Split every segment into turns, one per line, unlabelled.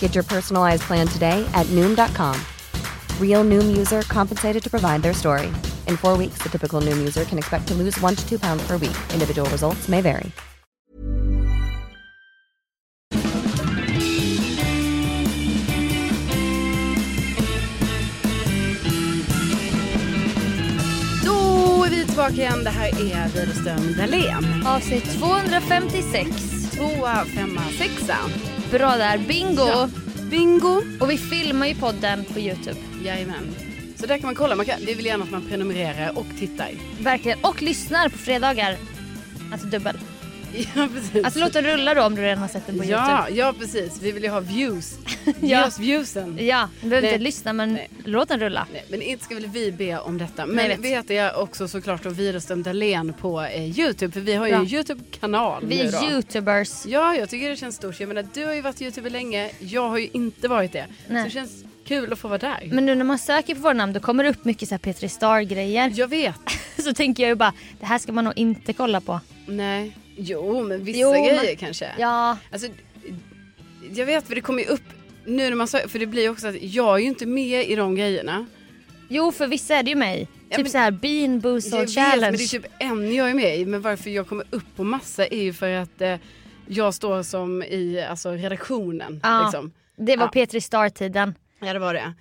Get your personalized plan today at Noom.com. Real Noom user compensated to provide their story. In four weeks, the typical Noom user can expect to lose one to two pounds per week. Individual results may vary.
Då är vi tillbaka igen. Det här är Widerström Dahlén.
Avsnitt 256.
Tvåa, femma, sexa.
Bra där, bingo!
Ja. Bingo.
Och vi filmar ju podden på Youtube.
Jajamän. Så där kan man kolla. Man kan, det är väl gärna att man prenumererar och tittar.
Verkligen. Och lyssnar på fredagar. Alltså dubbel.
Ja, precis.
Alltså låt den rulla då om du redan har sett den på
ja,
Youtube.
ja, precis. Vi vill ju ha views. Ge
Ja.
oss viewsen.
Ja, du behöver
Nej.
inte lyssna men
Nej.
låt den rulla.
Nej, Men inte ska väl vi be om detta.
Nej, jag
Men
vet.
vi heter ju också såklart då Widerström Dahlén på eh, Youtube. För vi har ju
Ja.
en Youtube-kanal
Vi
nu då.
är youtubers.
Ja, jag tycker det känns stort. Jag menar, du har ju varit youtuber länge. Jag har ju inte varit det.
Nej.
Så det känns kul att få vara där.
Men nu när man söker på våra namn då kommer det upp mycket så här Petri Star grejer.
Jag vet.
Så tänker jag ju bara, det här ska man nog inte kolla på.
Nej. Jo, men vissa
Jo, men-
grejer kanske.
Ja,
Alltså, jag vet, för det kommer ju upp nu när man sa, för det blir ju också att jag är ju inte med i de grejerna.
jo för vissa är det ju mig.
Ja,
typ
men-
så här Bean
jag
Boozled
vet, men det
Challenge.
är typ en jag är med i. Men varför jag kommer upp på massa är ju för att eh, jag står som i alltså, redaktionen.
Ja.
Liksom.
Det var
Ja.
Petri Star-tiden.
Ja, det var det.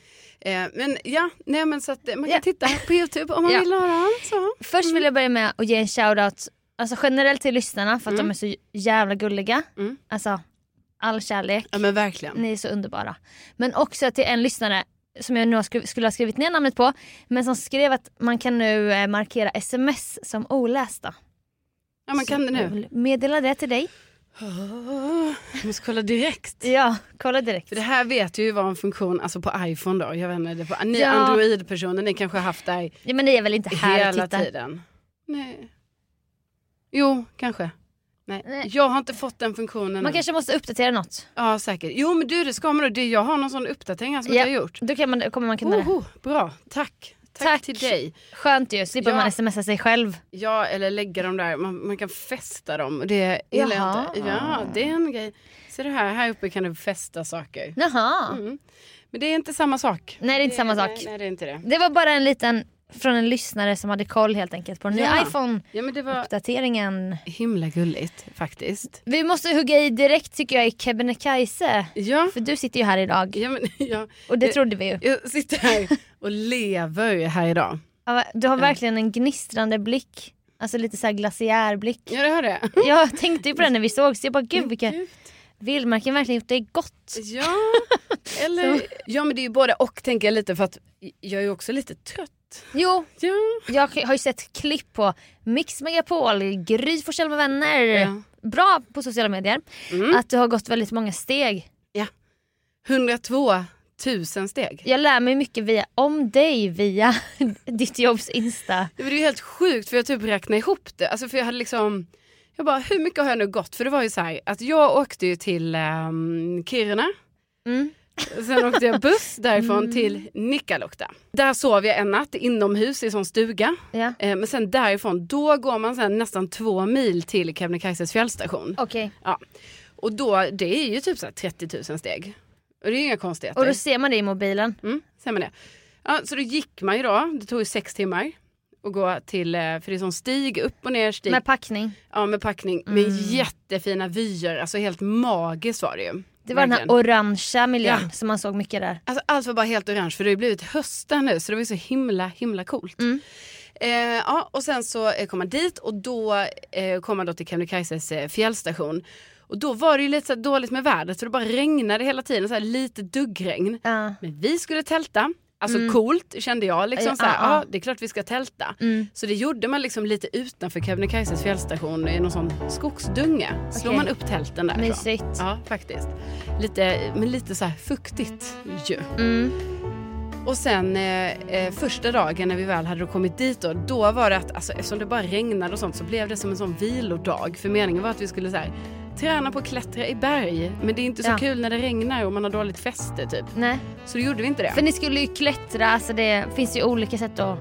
Eh, men ja, nej men så att eh, man kan
Ja.
titta på YouTube typ, om man
Ja.
vill höra. Så. Mm.
Först vill jag börja med att ge en shoutout alltså generellt till lyssnarna för att de är så jävla gulliga.
Mm.
Alltså all kärlek,
Ja, men verkligen.
ni är så underbara. Men också till en lyssnare som jag nu har skri- skulle ha skrivit ner namnet på men som skrev att man kan nu eh, markera sms som olästa.
Ja, man kan det
Jag
nu.
vill meddela det till dig.
Oh, jag måste kolla direkt.
Ja, kolla direkt.
För det här vet jag ju var en funktion alltså på iPhone då. Jag vet inte, det var, ni
Ja.
Android-personer, ni kanske har haft det här
Ja, men ni är väl inte här och
hela
tittar?
tiden. Nej. Jo, kanske. Nej.
Nej.
Jag har inte fått den funktionen.
Man
än.
kanske måste uppdatera något.
Ja, säkert. Jo, men du, det ska man då. Det, jag har någon sån uppdatering här som
Ja.
inte jag har gjort.
Då kan man, kommer man kunna det.
Oho, bra, tack. Tack,
Tack.
till dig.
Skönt ju, slipper
Ja.
man smsa sig själv.
Ja, eller lägga dem där. Man, man kan fästa dem. Det gillar
Jaha.
jag inte. Ja, det är en grej. Ser du här? Här uppe kan du fästa saker. Mm.
Jaha.
Men det är inte samma sak.
Nej, det är inte samma sak.
Nej, nej, det är inte det.
Det var bara en liten från en lyssnare som hade koll helt enkelt på den nya
Ja.
iPhone-uppdateringen.
Ja, men det var himla gulligt faktiskt.
Vi måste hugga i direkt tycker jag i Kebnekaise.
Ja,
För du sitter ju här idag
ja, men, ja.
och det trodde vi ju.
jag sitter här och lever här idag.
Ja, Du har verkligen en gnistrande blick. Alltså lite såhär glaciärblick.
Ja, det hör det.
Jag tänkte ju på det när vi sågs. Jag bara gud vilka vildmarken verkligen gjort dig gott.
Ja, eller, ja, men det är ju både och tänker jag lite för att jag är ju också lite trött sett.
Jo,
Ja.
jag har ju sett klipp på Mix Megapol, Gry Forssell med vänner.
Ja. Mm.
Bra på sociala medier. Att du har gått väldigt många steg.
102 000 steg.
Jag lär mig mycket via, om dig via ditt jobbs Insta.
Det var ju helt sjukt för jag typ räknade ihop det. Alltså för jag hade liksom, jag bara hur mycket har jag nu gått? För det var ju så här att jag åkte ju till ehm, Kiruna.
Mm.
Sen åkte jag buss därifrån till Nikkaluokta. Där sov jag en natt inomhus i en sån stuga.
Ja.
Eh, men sen därifrån, då går man sen nästan två mil till Kebnekaises fjällstation.
Okej,
Ja. Och då, det är ju typ så här 30 000 steg. Och det är ju inga konstigheter.
och då ser man det i mobilen.
Mm, ser man det. Ja, så då gick man ju då, det tog ju sex timmar att gå till, eh, för det är sån stig upp och ner, stig
Med packning. Mm.
ja, med packning med jättefina vyer, alltså helt magiskt var det ju.
Det var den här
Verkligen.
orangea miljön
Ja.
som man såg mycket där.
Alltså, allt var bara helt orange för det har ju blivit hösten nu så det var ju så himla himla coolt. Eh, ja, och sen så eh, kom man dit och då eh, kom man då till Kebnekaises eh, fjällstation. Och då var det ju lite så här dåligt med vädret så det bara regnade hela tiden, så här lite duggregn.
Ja.
Men vi skulle tälta. Alltså coolt kände jag. Liksom,
Mm. Ja,
så här,
ja, Mm. ja.
ja, det är klart vi ska tälta. Så det gjorde man liksom lite utanför Kebnekaises fjällstation i någon sån skogsdunge. Slår
Okej.
man upp tälten därifrån.
Mysigt.
Ja, faktiskt. Lite, men lite så här fuktigt ju.
Mm,
Och sen eh, eh, första dagen när vi väl hade då kommit dit då, då var det att alltså, eftersom det bara regnade och sånt så blev det som en sån vilodag. För meningen var att vi skulle så här, träna på att klättra i berg. Men det är inte så
Ja.
kul när det regnar och man har dåligt fäste typ.
Nej.
Så då gjorde vi inte det.
För ni skulle ju klättra, alltså det finns ju olika sätt att...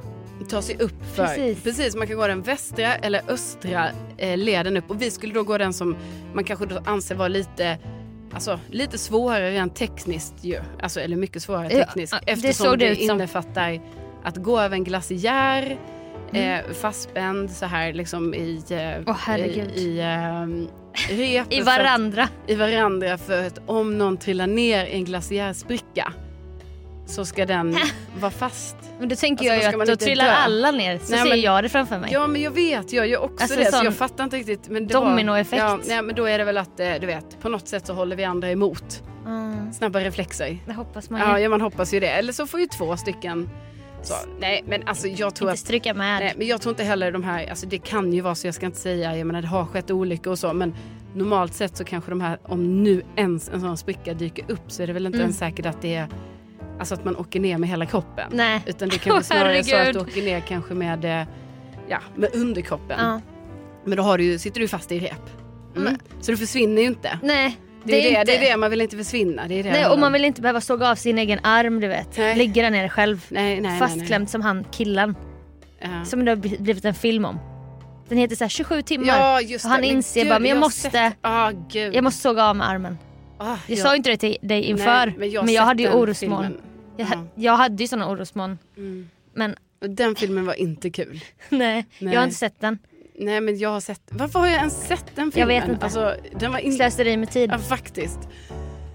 ta sig upp för.
Precis.
Precis. man kan gå den västra eller östra eh, leden upp och vi skulle då gå den som man kanske då anser vara lite Alltså lite svårare rent tekniskt ju. Alltså eller mycket svårare
Ja,
tekniskt.
ja, det
eftersom
såg
det,
det ut som.
innefattar att gå över en glaciär, eh, fastspänd så här liksom i, eh,
Mm. Åh, herregud.
i, i ehm, rep.
I
för att-
varandra.
i varandra för att om någon trillar ner i en glaciärspricka så ska den vara fast.
Men då tänker
Alltså, då
jag
ska
ju
man
att då
inte
trillar
dö.
alla ner. Så
Nej,
ser
men-
jag det framför mig.
Ja men jag vet, jag gör också
Alltså,
det.
sån
Så jag fattar inte riktigt. Men det
dominoeffekt.
Var, ja, nej, men då är det väl att eh, du vet, på något sätt så håller vi andra emot.
Mm,
Snabba reflexer.
det hoppas man ju.
Ja, ja man hoppas ju det. Eller så får ju två stycken. Så, nej men alltså jag tror
Inte
att
stryka med.
Nej, men jag tror inte heller de här, alltså det kan ju vara så, jag ska inte säga, jag menar det har skett olyckor och så, men normalt sett så kanske de här, om nu ens en sån spricka dyker upp så är det väl
Mm.
inte ens säkert att det är, alltså att man åker ner med hela kroppen.
Nej.
Utan det kanske
Åh,
snarare är så att
herregud.
du åker ner kanske med, eh, ja, med underkroppen.
Ja.
Men då har du, ju- sitter du fast i rep. Mm. Så du försvinner ju inte.
Nej,
Det är, det,
inte...
det är det, man vill inte försvinna. Det är det
Nej,
det
och man
handlar om.
vill inte behöva såga av sin egen arm du vet.
Nej.
Ligga där nere själv.
Nej, nej,
Fastklämd
nej,
som han killen.
nej. Ja.
Som det har bli- blivit en film om. Den heter så här 27 timmar.
Ja, just
och han
det.
inser
gud,
bara, men jag
har
måste,
sett- Ah, gud.
jag måste såga av med armen.
Ah,
Jag
ja.
sa ju inte det till dig inför.
Nej,
men
men
jag,
jag har
hade ju
sett den
orosmoln.
filmen.
Jag,
Ja.
jag hade ju såna orosmoln. Men
Och Den filmen var inte kul.
nej, jag har
Nej.
inte sett den.
Nej men jag har sett, varför har jag ens sett den
Jag
filmen?
vet inte.
Alltså, den var inte...
Slöseri med tid.
Ja, faktiskt.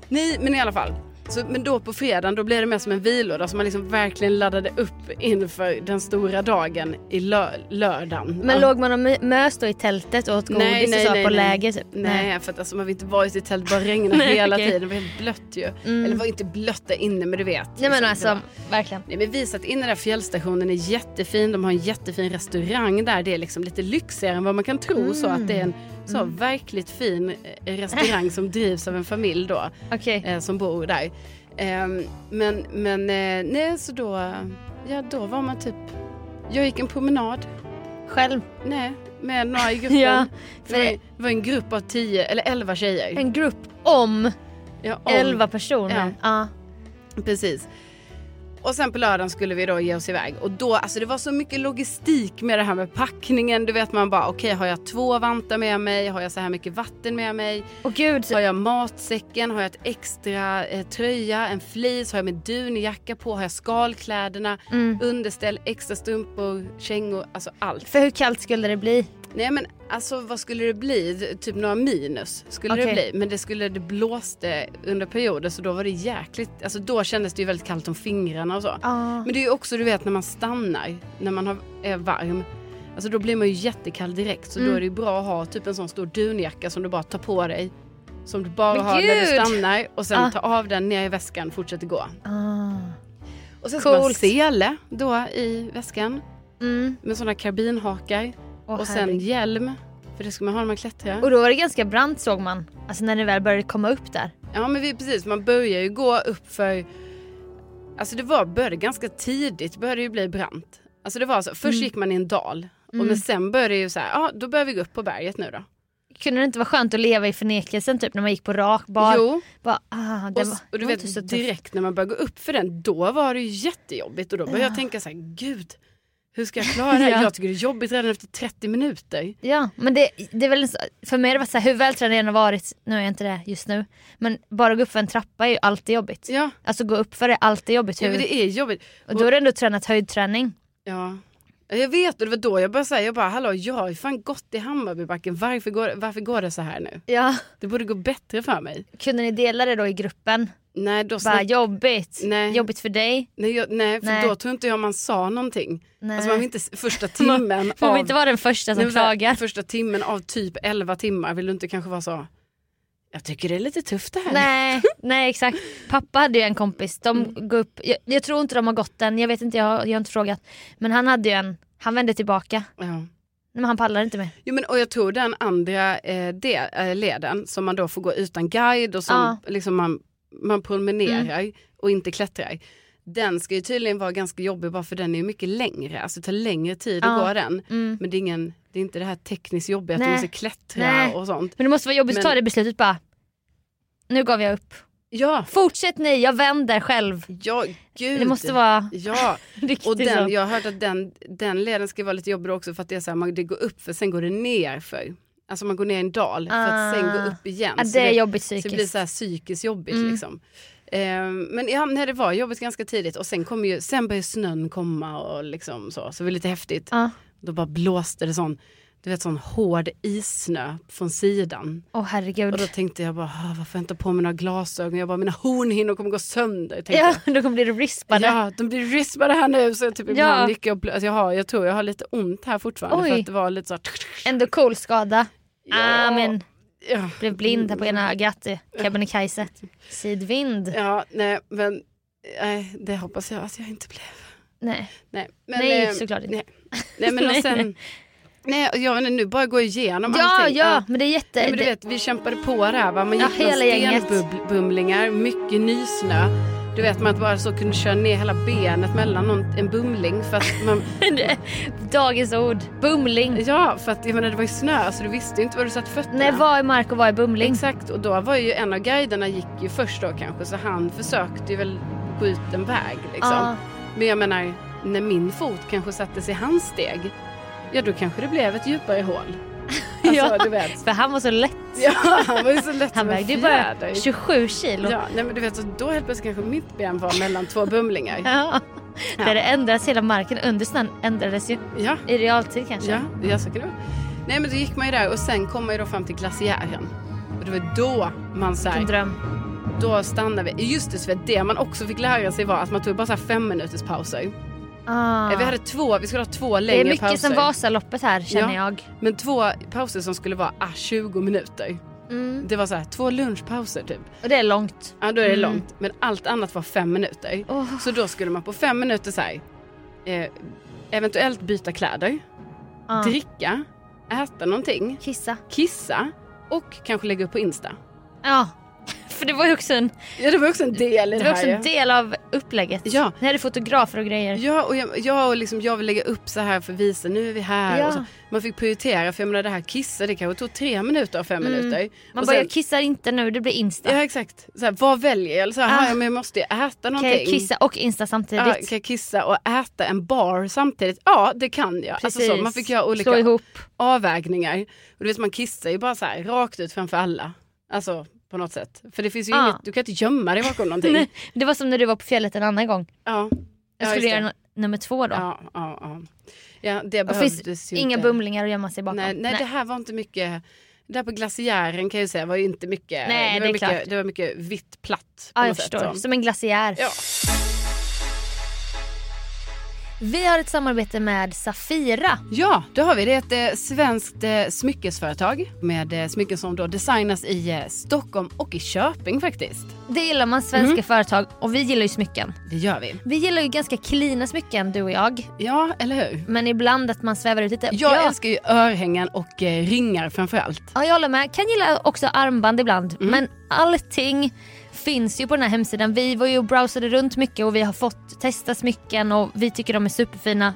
Nej men i alla fall. Så, men då på fredagen då blev det mer som en vilodag så man liksom verkligen laddade upp inför den stora dagen i lö- lördagen.
Men
Ja.
låg man och mö- mös då i tältet och åt godis
Nej, nej,
och så
nej,
på
nej.
läger typ?
Nej, för att alltså, man vill inte vara ute i tält bara regna
Nej,
hela
okej.
tiden. Det var helt blött ju. Eller var inte blött där inne men du vet.
Nej men
liksom, det
alltså
var-
verkligen.
Nej men vi satt inne där, fjällstationen är jättefin, de har en jättefin restaurang där. Det är liksom lite lyxigare än vad man kan tro så att det är en
Mm.
så verkligt fin eh, restaurang som drivs av en familj då
Okej.
eh, som bor där. Ehm, men men eh, nej så då, ja då var man typ, jag gick en promenad,
Själv.
nej med några i gruppen.
Ja,
det, var, det var en grupp av tio eller elva tjejer.
En grupp om
ja, om-
11 personer. Ja.
Precis. Och sen på lördagen skulle vi då ge oss iväg och då, alltså det var så mycket logistik med det här med packningen. Du vet man bara okej har jag två vantar med mig? Har jag så här mycket vatten med mig?
Och gud,
Har jag matsäcken? Har jag ett extra eh, tröja? En fleece? Har jag min dunjacka på? Har jag skalkläderna? Underställ? Extra strumpor? Kängor? Alltså allt.
mm. för hur kallt skulle det bli?
Nej men alltså vad skulle det bli? Typ några minus skulle det
Okej.
bli. Men det skulle, det blåste under perioder så då var det jäkligt, alltså då kändes det ju väldigt kallt om fingrarna och så.
Ja.
Men det är ju också du vet när man stannar, när man har, är varm. Alltså då blir man ju jättekall direkt så då är det ju bra att ha typ en sån stor dunjacka som du bara tar på dig. Som du bara
Men
har när du
gud!
stannar och sen
Ah.
tar av den ner i väskan och fortsätter gå.
Ah.
Och sen ska man ha
Coolt.
sele då i väskan
Mm.
med sådana karbinhakar.
Åh,
och sen
herregud.
hjälm, för det ska man ha när man klättrar.
och då var det ganska brant såg man. Alltså när det väl började komma upp där.
Ja men vi, precis, man börjar ju gå upp för... Alltså det var, började ganska tidigt, började det ju bli brant. Alltså det var så, först
Mm,
gick man i en dal. Och men sen började det ju så här, ja då börjar vi gå upp på berget nu då.
Kunde det inte vara skönt att leva i förnekelsen typ när man gick på rak bar?
Jo,
Bara, ah, det
och,
var,
s- och du
det var inte så
vet
tufft.
direkt när man började gå upp för den, då var det ju jättejobbigt. Och då började jag tänka så här, gud, hur ska jag klara det här?
Ja.
Jag tycker det är jobbigt redan efter 30 minuter.
Ja, men det, det är väl en så, för mig har det varit så här, hur vältränad jag än har varit, nu är jag inte det just nu, men bara gå upp för en trappa är ju alltid jobbigt.
Ja,
Alltså gå upp för det är alltid jobbigt.
ja men
Hur,
det är jobbigt.
och då har du ändå tränat höjdträning.
Ja. Ja, Jag vet, och det var då jag började säga, jag bara hallå, jag har ju fan gått i Hammarbybacken, varför går, varför går det så här nu?
Ja.
Det borde gå bättre för mig.
Kunde ni dela det då i gruppen?
Nej, då
Bara
snack-
jobbigt,
Nej.
jobbigt för dig.
nej, jag, nej för
Nej.
då tror inte jag man sa någonting.
Nej.
Alltså man vill inte, s- första timmen
Man
av...
vill inte vara den första som
Nej, men så här,
klagar.
Första timmen av typ 11 timmar vill du inte kanske vara så, jag tycker det är lite tufft det här.
Nej, nej exakt. Pappa hade ju en kompis, de
Mm.
går upp, jag, jag tror inte de har gått den, jag vet inte, jag har, jag har inte frågat. Men han hade ju en, han vände tillbaka, nej,
Ja.
men han pallade inte mer.
Jo, men, och jag tror den andra eh, de, eh, leden som man då får gå utan guide och som
Ja. Mm.
liksom man, man promenerar och inte klättrar. Den ska ju tydligen vara ganska jobbig bara för den är ju mycket längre, alltså det tar längre tid att
Ja.
gå den.
Mm.
Men det är, ingen, det är inte det här tekniskt jobbiga att
Nej.
man måste klättra
Nej.
och sånt.
Men det måste vara jobbigt att
Men-
ta det beslutet bara. Nu gav jag upp.
Ja,
Fortsätt ni, jag vänder själv.
ja gud.
Det måste vara
Ja,
riktigt
och den,
så.
jag har hört att den, den leden ska vara lite jobbig också för att det är så här, man, det går upp för sen går det ner för. Alltså man går ner i en dal för att sen
Ah.
gå upp igen.
Ja,
Så
det är
det-
jobbigt
Så
psykiskt.
det blir så här psykiskt jobbigt
Mm.
liksom. Ehm, men ja, nej, det var jobbigt ganska tidigt och sen, kom ju, sen började snön komma och liksom så. Så det var lite häftigt.
Ja.
Då bara blåste det sån, du vet sån hård issnö från sidan.
Åh herregud.
Och då tänkte jag bara, "Ah, varför har jag inte på mig några glasögon? Jag bara, mina hornhinnor kommer gå sönder. Tänkte
ja,
jag.
då kommer det bli rispade.
Ja, de blir rispade här nu. Så jag typ ibland
Ja.
gick jag och blö- alltså jag, har, jag tror jag har lite ont här fortfarande. För
Oj.
att det var lite så här,
Ändå cool skada.
Ja.
Ah, men
ja.
blev blind här på ena ögat. i Kebnekaise. Sidvind.
ja, nej men nej, det hoppas jag att jag inte blev.
Nej.
Nej, men,
Nej,
eh,
såklart inte.
Nej, nej men och
Nej,
sen... Nej, och jag vet inte, nu bara gå igenom
Ja,
allting.
ja, men det är jätte...
Nej, men du vet, vi kämpade på det här va. Man
Ja,
gick bland
hela gänget.
stenbumlingar, mycket nysnö. Du vet, man bara så kunde köra ner hela benet mellan någon, en bumling. För att man,
det, dagens ord. Bumling.
ja, för att jag menar, det var ju snö så Alltså, du visste ju inte var du satt fötterna.
Nej, vad är mark och vad är bumling?
Exakt, och då var ju en av guiderna gick ju först då kanske så han försökte ju väl gå ut en väg liksom.
Ja.
Men jag menar, när min fot kanske sattes i hans steg, ja då kanske det blev ett djupare hål. Alltså,
Ja.
du vet.
För han var så lätt.
Ja, han var ju så lätt
Han
som en
vägde ju bara
fjäder.
27 kilo.
Ja, nej men du vet, så då helt plötsligt kanske mitt ben var mellan två bumlingar.
Ja.
Ja.
Där det ändras hela marken under snön ändrades ju
Ja,
i realtid kanske.
ja, ja så kan det vara. Nej men då gick man ju där och sen kom man ju då fram till glaciären. Och det var då man så
En
här,
dröm.
då stannade vi. Just det, så vet, det man också fick lära sig var att man tog bara så här fem minuters pauser.
Ah.
Eh, Vi hade två, vi skulle ha två
det
längre
är mycket
pauser.
som Vasaloppet här känner
Ja.
jag.
Men två pauser som skulle vara ah, 20 minuter.
Mm.
Det var så här, två lunchpauser typ.
Och det är långt.
Ja, då är det
Mm.
långt. Men allt annat var fem minuter.
Åh.
Så då skulle man på fem minuter så här, eh, eventuellt byta kläder,
Ah.
dricka, äta någonting,
Kissa.
kissa och kanske lägga upp på Insta.
Ja. För det var ju också en,
Ja, det var också en del i
det
det,
var också
här.
en del av upplägget.
Ja.
Ni hade fotografer och grejer.
Ja, och jag, jag, och liksom, jag vill lägga upp så här för att visa, nu är vi här.
Ja.
Och så. Man fick prioritera, för jag menar det här kissa, det kanske tog tre minuter av fem minuter.
Mm. Man
Och
bara,
sen-
jag kissar inte nu, det blir Insta.
Ja exakt. Så här, vad väljer jag? Eller Så här,
Ah.
ah. ja, men jag måste ju äta
kan
någonting.
jag kissa och Insta samtidigt?
Ja, kan jag kissa och äta en bar samtidigt? Ja, det kan jag. Alltså så, man fick göra
Slå
olika
ihop.
avvägningar. Och du vet, man kissar ju bara så här rakt ut framför alla. Alltså på något sätt. För det finns ju
Ja.
inget, du kan inte gömma dig bakom någonting.
Ah. Nej, det var som när du var på fjället en annan gång.
Ja.
Jag
Ja,
skulle
just
göra
det.
no- nummer två då.
Ja, ja, ja. ja, det
det
behövdes
finns
ju
inga
inte.
bumlingar att gömma sig bakom.
Nej, nej, det här var inte mycket. Där på glaciären kan jag ju säga var ju inte mycket. det,
Nej,
var
det är
mycket
klart.
det var mycket vitt platt. på
Ja, jag
något sätt,
förstår.
så.
Som en glaciär.
Ja. Vi har ett samarbete med Safira.
Ja, det har vi. Det är ett eh, svenskt eh, smyckesföretag med eh, smycken som då designas i eh, Stockholm och i Köping faktiskt.
Det gillar man, svenska företag. Och vi gillar ju smycken.
Mm. Det gör vi.
Vi gillar ju ganska klina smycken, du och jag.
Ja, eller hur?
Men ibland att man svävar ut lite.
Jag
ja,
älskar ju örhängen och eh, ringar framförallt. Mm.
ja, jag håller med. Kan gilla också armband ibland. Men allting finns ju på den här hemsidan. Vi var ju och browsade runt mycket och vi har fått testa smycken och vi tycker de är superfina.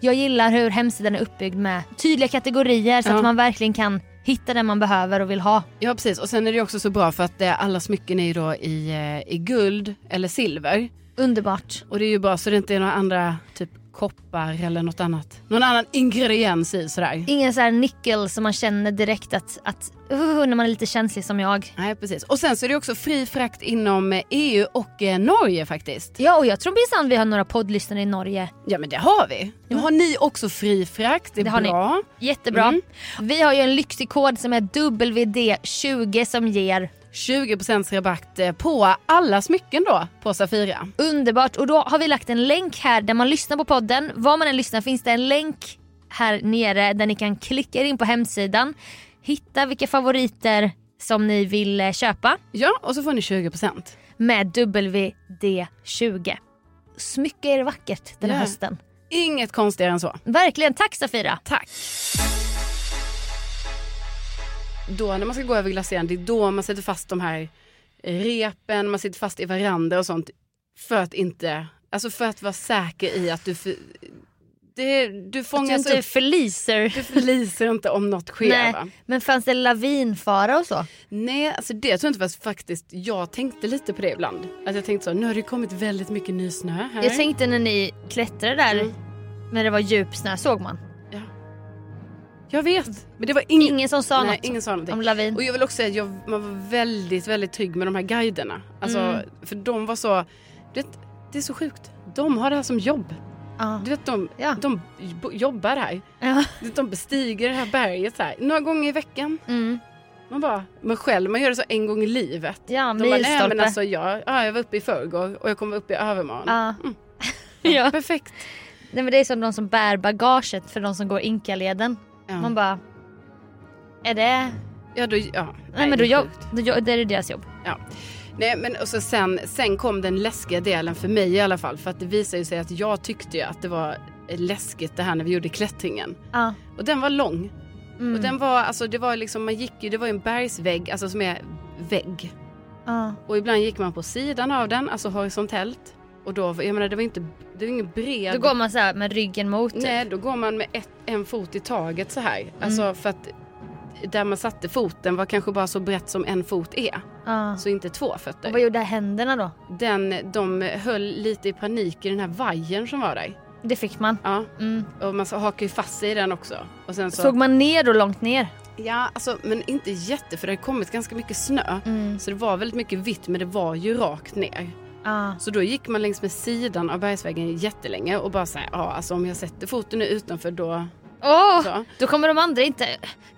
Jag gillar hur hemsidan är uppbyggd med tydliga kategorier så
Ja.
att man verkligen kan hitta det man behöver och vill ha.
Ja precis och sen är det ju också så bra för att eh, alla smycken är ju då i, eh, i guld eller silver.
Underbart.
Och det är ju bra så det inte är några andra typ koppar eller något annat. Någon annan ingrediens i sådär.
Ingen så här nickel som man känner direkt att, att uh, när man är lite känslig som jag.
Nej precis. Och sen så är det också fri frakt inom eh, EU och eh, Norge faktiskt.
Ja och jag tror minsann vi har några poddlyssnare i Norge.
Ja men det har vi. Nu har ni också fri frakt, det är
Det har ni.
bra.
Jättebra.
Mm.
Vi har ju en lyxig kod som är WD20 som ger
20% rabatt eh, på alla smycken då på Safira.
underbart. Och då har vi lagt en länk här där man lyssnar på podden. Var man än lyssnar finns det en länk här nere där ni kan klicka er in på hemsidan. Hitta vilka favoriter som ni vill eh, köpa
Ja och så får ni 20%.
med WD20. Smycka er vackert den här
Ja.
hösten.
Inget konstigare än så.
Verkligen. Tack Safira.
Tack. Då när man ska gå över glaciären, det är då man sätter fast de här eh, repen, man sitter fast i varandra och sånt. För att inte, alltså för att vara säker i att du, för, det, du
Att du
fångas
inte
upp.
förliser.
Du förliser inte om något sker
Nej,
va?
men fanns det lavinfara och så?
Nej, alltså det tror jag inte fast faktiskt, jag tänkte lite på det ibland. Att jag tänkte så, nu har det kommit väldigt mycket ny snö här.
Jag tänkte när ni klättrade där,
Mm.
när det var djup snö, såg man?
Jag vet, men det var ingen,
Ingen som sa
nej,
något
ingen sa någonting.
om lavin.
Och jag vill också säga att jag, man var väldigt, väldigt trygg med de här guiderna. Alltså,
Mm.
För de var så, du vet, det är så sjukt. De har det här som jobb.
Ja.
Du vet, de,
Ja.
de bo- jobbar här.
Ja.
Du vet, De bestiger det här berget så här. några gånger i veckan.
Mm.
Man bara, men själv, man gör det så en gång i livet.
Ja,
De bara, nej men
milstolpe.
alltså jag, ja, jag var uppe i förrgår och jag kommer upp i övermorgon.
Ja.
Mm.
ja.
Perfekt.
Nej, men det är som de som bär bagaget för de som går Inkaleden.
Ja.
Man bara... Är det...
ja, då, ja.
Nej men
det
då,
är
jobb,
sjukt.
då jobb, det är deras jobb.
Nej men och så sen, sen kom den läskiga delen för mig i alla fall. För att det visade ju sig att jag tyckte ju att det var läskigt det här när vi gjorde klättringen.
Ja.
Och den var lång.
Mm.
Och den var, alltså det var liksom, man gick ju, det var ju en bergsvägg, alltså som är vägg.
ja.
Och ibland gick man på sidan av den, alltså horisontellt. Och då, jag menar det var inte, det var ingen bred.
Då går man så här med ryggen mot. typ. Mm.
Nej, då går man med ett, en fot i taget så här. Alltså för att där man satte foten var kanske bara så brett som en fot är.
Ja.
Så inte två fötter.
Och vad gjorde händerna då?
den, de höll lite i panik i den här vajern som var där.
Det fick man.
Ja,
Mm.
och man så- hakar ju fast sig i den också. Och sen så,
Såg man ner då långt ner?
Ja, alltså, men inte jätte för det hade kommit ganska mycket snö.
Mm.
Så det var väldigt mycket vitt men det var ju rakt ner.
Ja.
Så då gick man längs med sidan av bergsvägen jättelänge och bara såhär, ja alltså om jag sätter foten nu utanför då...
Åh!
Så.
Då kommer de andra inte...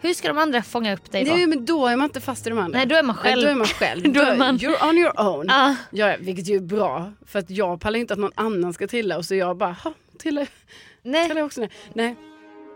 Hur ska de andra fånga upp dig då?
Nej men då är man inte fast i de andra.
Nej, då är man själv.
Nej, då är man själv.
Då är man- Ah.
You're on your own.
Ja.
Ja, vilket ju är bra. För att jag pallar inte att någon annan ska trilla och så jag bara, ha, trillar,
Nej,
trillar jag också ner. Nej.
nej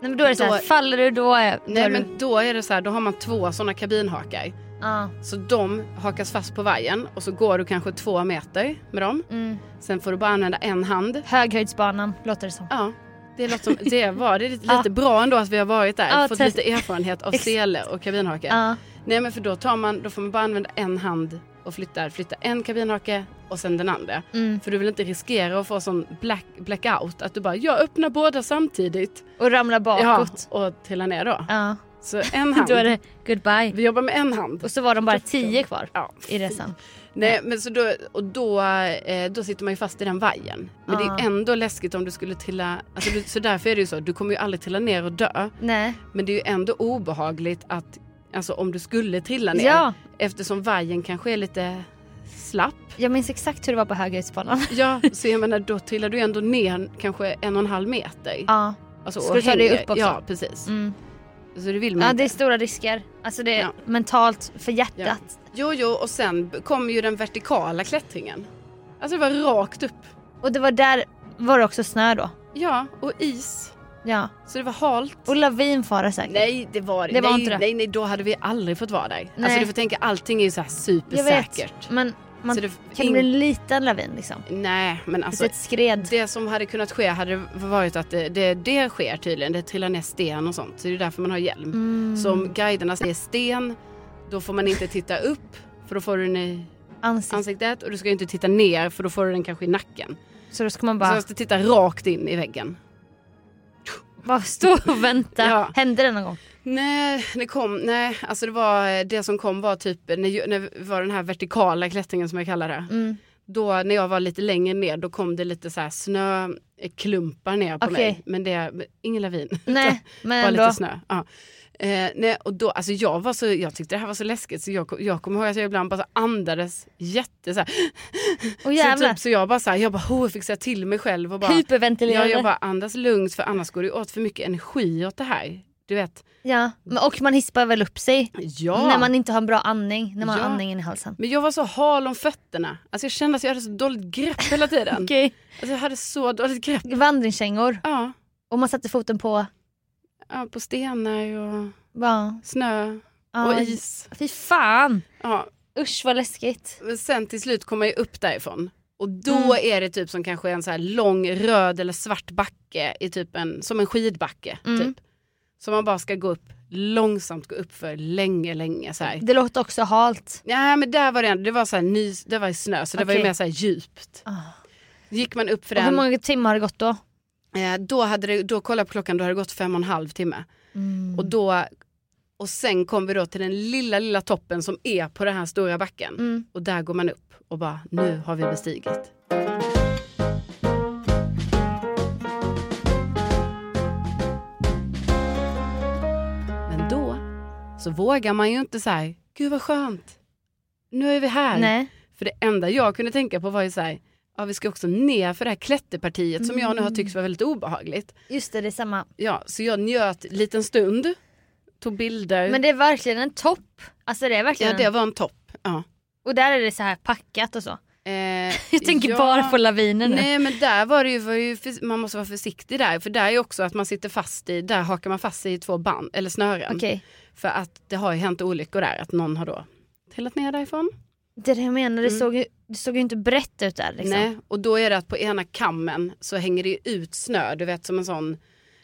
men då är det så här,
Då-
faller du då är... då
Nej
är
men då är det så här, då har man två sådana kabinhakar.
du, ja.
Så de hakas fast på vajern och så går du kanske två meter med dem.
mm.
Sen får du bara använda en hand.
Höghöjdsbanan låter det som.
Ja, det låter som, det var det är lite,
Ja.
lite bra ändå att vi har varit där.
Ja,
fått
test-
lite erfarenhet av
Exakt.
sele och kabinhake.
Ja.
Nej men för då tar man, då får man bara använda en hand och flyttar, flytta en kabinhake och sen den andra.
Mm.
För du vill inte riskera att få sån black, blackout, att du bara jag öppnar båda samtidigt.
Och ramlar bakåt.
Ja, och trillar ner då.
Ja.
Så en hand.
Då är det goodbye.
Vi jobbar med en hand.
Och så var de bara tio kvar
Ja,
i resan.
Nej, men så då, och då, eh, då sitter man ju fast i den vajern. Men det är ju ändå läskigt om du skulle trilla... Alltså du, så därför är det ju så, du kommer ju aldrig trilla ner och dö.
Nej.
Men det är ju ändå obehagligt att... Alltså om du skulle trilla ner.
Ja,
Eftersom vajern kanske är lite slapp.
jag minns exakt hur det var på höghöjdsbanan.
Ja, så jag menar då trillar du ju ändå ner kanske en och en halv meter.
Ja.
Alltså,
Ska du ta dig
hänger-
upp också?
Ja, precis.
Mm.
Så det vill man
ja,
inte.
det är stora risker. Alltså det är
Ja.
mentalt för hjärtat.
Jo, jo, och sen kommer ju den vertikala klättringen. Alltså det var rakt upp.
Och det var där var det också snö då.
Ja, och is.
Ja.
Så det var halt.
Och lavinfara säkert.
Nej, det var
Det var
nej,
inte det.
Nej, nej, då hade vi aldrig fått vara där.
Nej.
Alltså du får tänka, allting är ju så här
jag
supersäkert.
vet. Men man,
Så det-
kan det bli en liten lavin liksom?
Nej, men alltså.
Alltså ett skred.
Det som hade kunnat ske hade varit att det, det, det sker tydligen, det trillar ner sten och sånt. Så det är därför man har hjälm.
Mm.
Så om guiderna säger sten, då får man inte titta upp för då får du den i
Ansikt.
ansiktet och du ska ju inte titta ner för då får du den kanske i nacken.
Så då ska man
Så
bara
man ska titta rakt in i väggen.
bara stå och vänta.
Ja.
Hände det någon gång?
Nej, det kom, nej, alltså det var, det som kom var typ, när, när var den här vertikala klättringen som jag kallar det.
Mm.
Då när jag var lite längre ner då kom det lite så här snöklumpar ner på
Okej.
mig. Men det, ingen lavin.
Nej, men
Bara
ändå.
lite snö. Ja. Eh, nej, och då, alltså jag, var så, jag tyckte det här var så läskigt så jag, kom- jag kommer ihåg att jag ibland bara så andades jätte så, här,
Och
så,
jävlar.
typ, så jag bara så här, jag bara oh, fick säga till mig själv och bara, ja,
Hyperventilerade.
jag bara andas lugnt för annars går det åt för mycket energi åt det här. Du vet,
Ja, men- och man hispar väl upp sig
ja.
när man inte har en bra andning, när man
Ja.
har andningen i halsen.
Men jag var så hal om fötterna. Alltså jag kände att jag hade så dåligt grepp hela tiden.
Okej.
alltså jag hade så dåligt grepp.
Vandringskängor
Ja,
och man satte foten på
ja på stenar och
ja,
snö
ja,
och is.
Fy fan!
Ja,
Usch vad läskigt. Mm.
Men sen till slut kommer jag upp därifrån. Och då är det typ som kanske en så här lång röd eller svart backe, i typ en, som en skidbacke.
Mm.
Typ. Så man bara ska gå upp, långsamt gå upp för länge, länge så här.
Det låter också halt.
Nej men där var det, ändå- det var så här ny, det var ju snö så det var ju
Okej. Ah.
mer så här djupt. Gick man upp för
Och hur
den,
många timmar har det gått då?
eh, då, hade det, då kollade jag på klockan, då hade det gått fem och en halv timme.
Mm.
Och, då, och sen kom vi då till den lilla, lilla toppen som är på den här stora backen.
Mm.
Och där går man upp och bara, nu har vi bestigit. Men då så vågar man ju inte säga, gud vad skönt, nu är vi här.
Nej.
För det enda jag kunde tänka på var ju så här, ja vi ska också ner för det här klätterpartiet som jag nu har tyckt var väldigt obehagligt.
Mm. Just det, det är samma.
Ja, så jag njöt liten stund, tog bilder.
Men det är verkligen en topp. Alltså det är verkligen
Ja, det
en-
var en topp. Ja.
Och där är det så här packat och så.
Eh,
Jag tänker
ja,
bara på laviner nu.
Nej men där var det ju, var ju för, man måste vara försiktig där. För där är ju också att man sitter fast i, där hakar man fast sig i två band, eller snören.
Okej.
För att det har ju hänt olyckor där, att någon har då trillat ner därifrån.
Det är det jag menar, det, såg, ju, det såg ju inte brett ut där liksom.
Mm. Nej, och då är det att på ena kammen så hänger det ju ut snö, du vet som en sån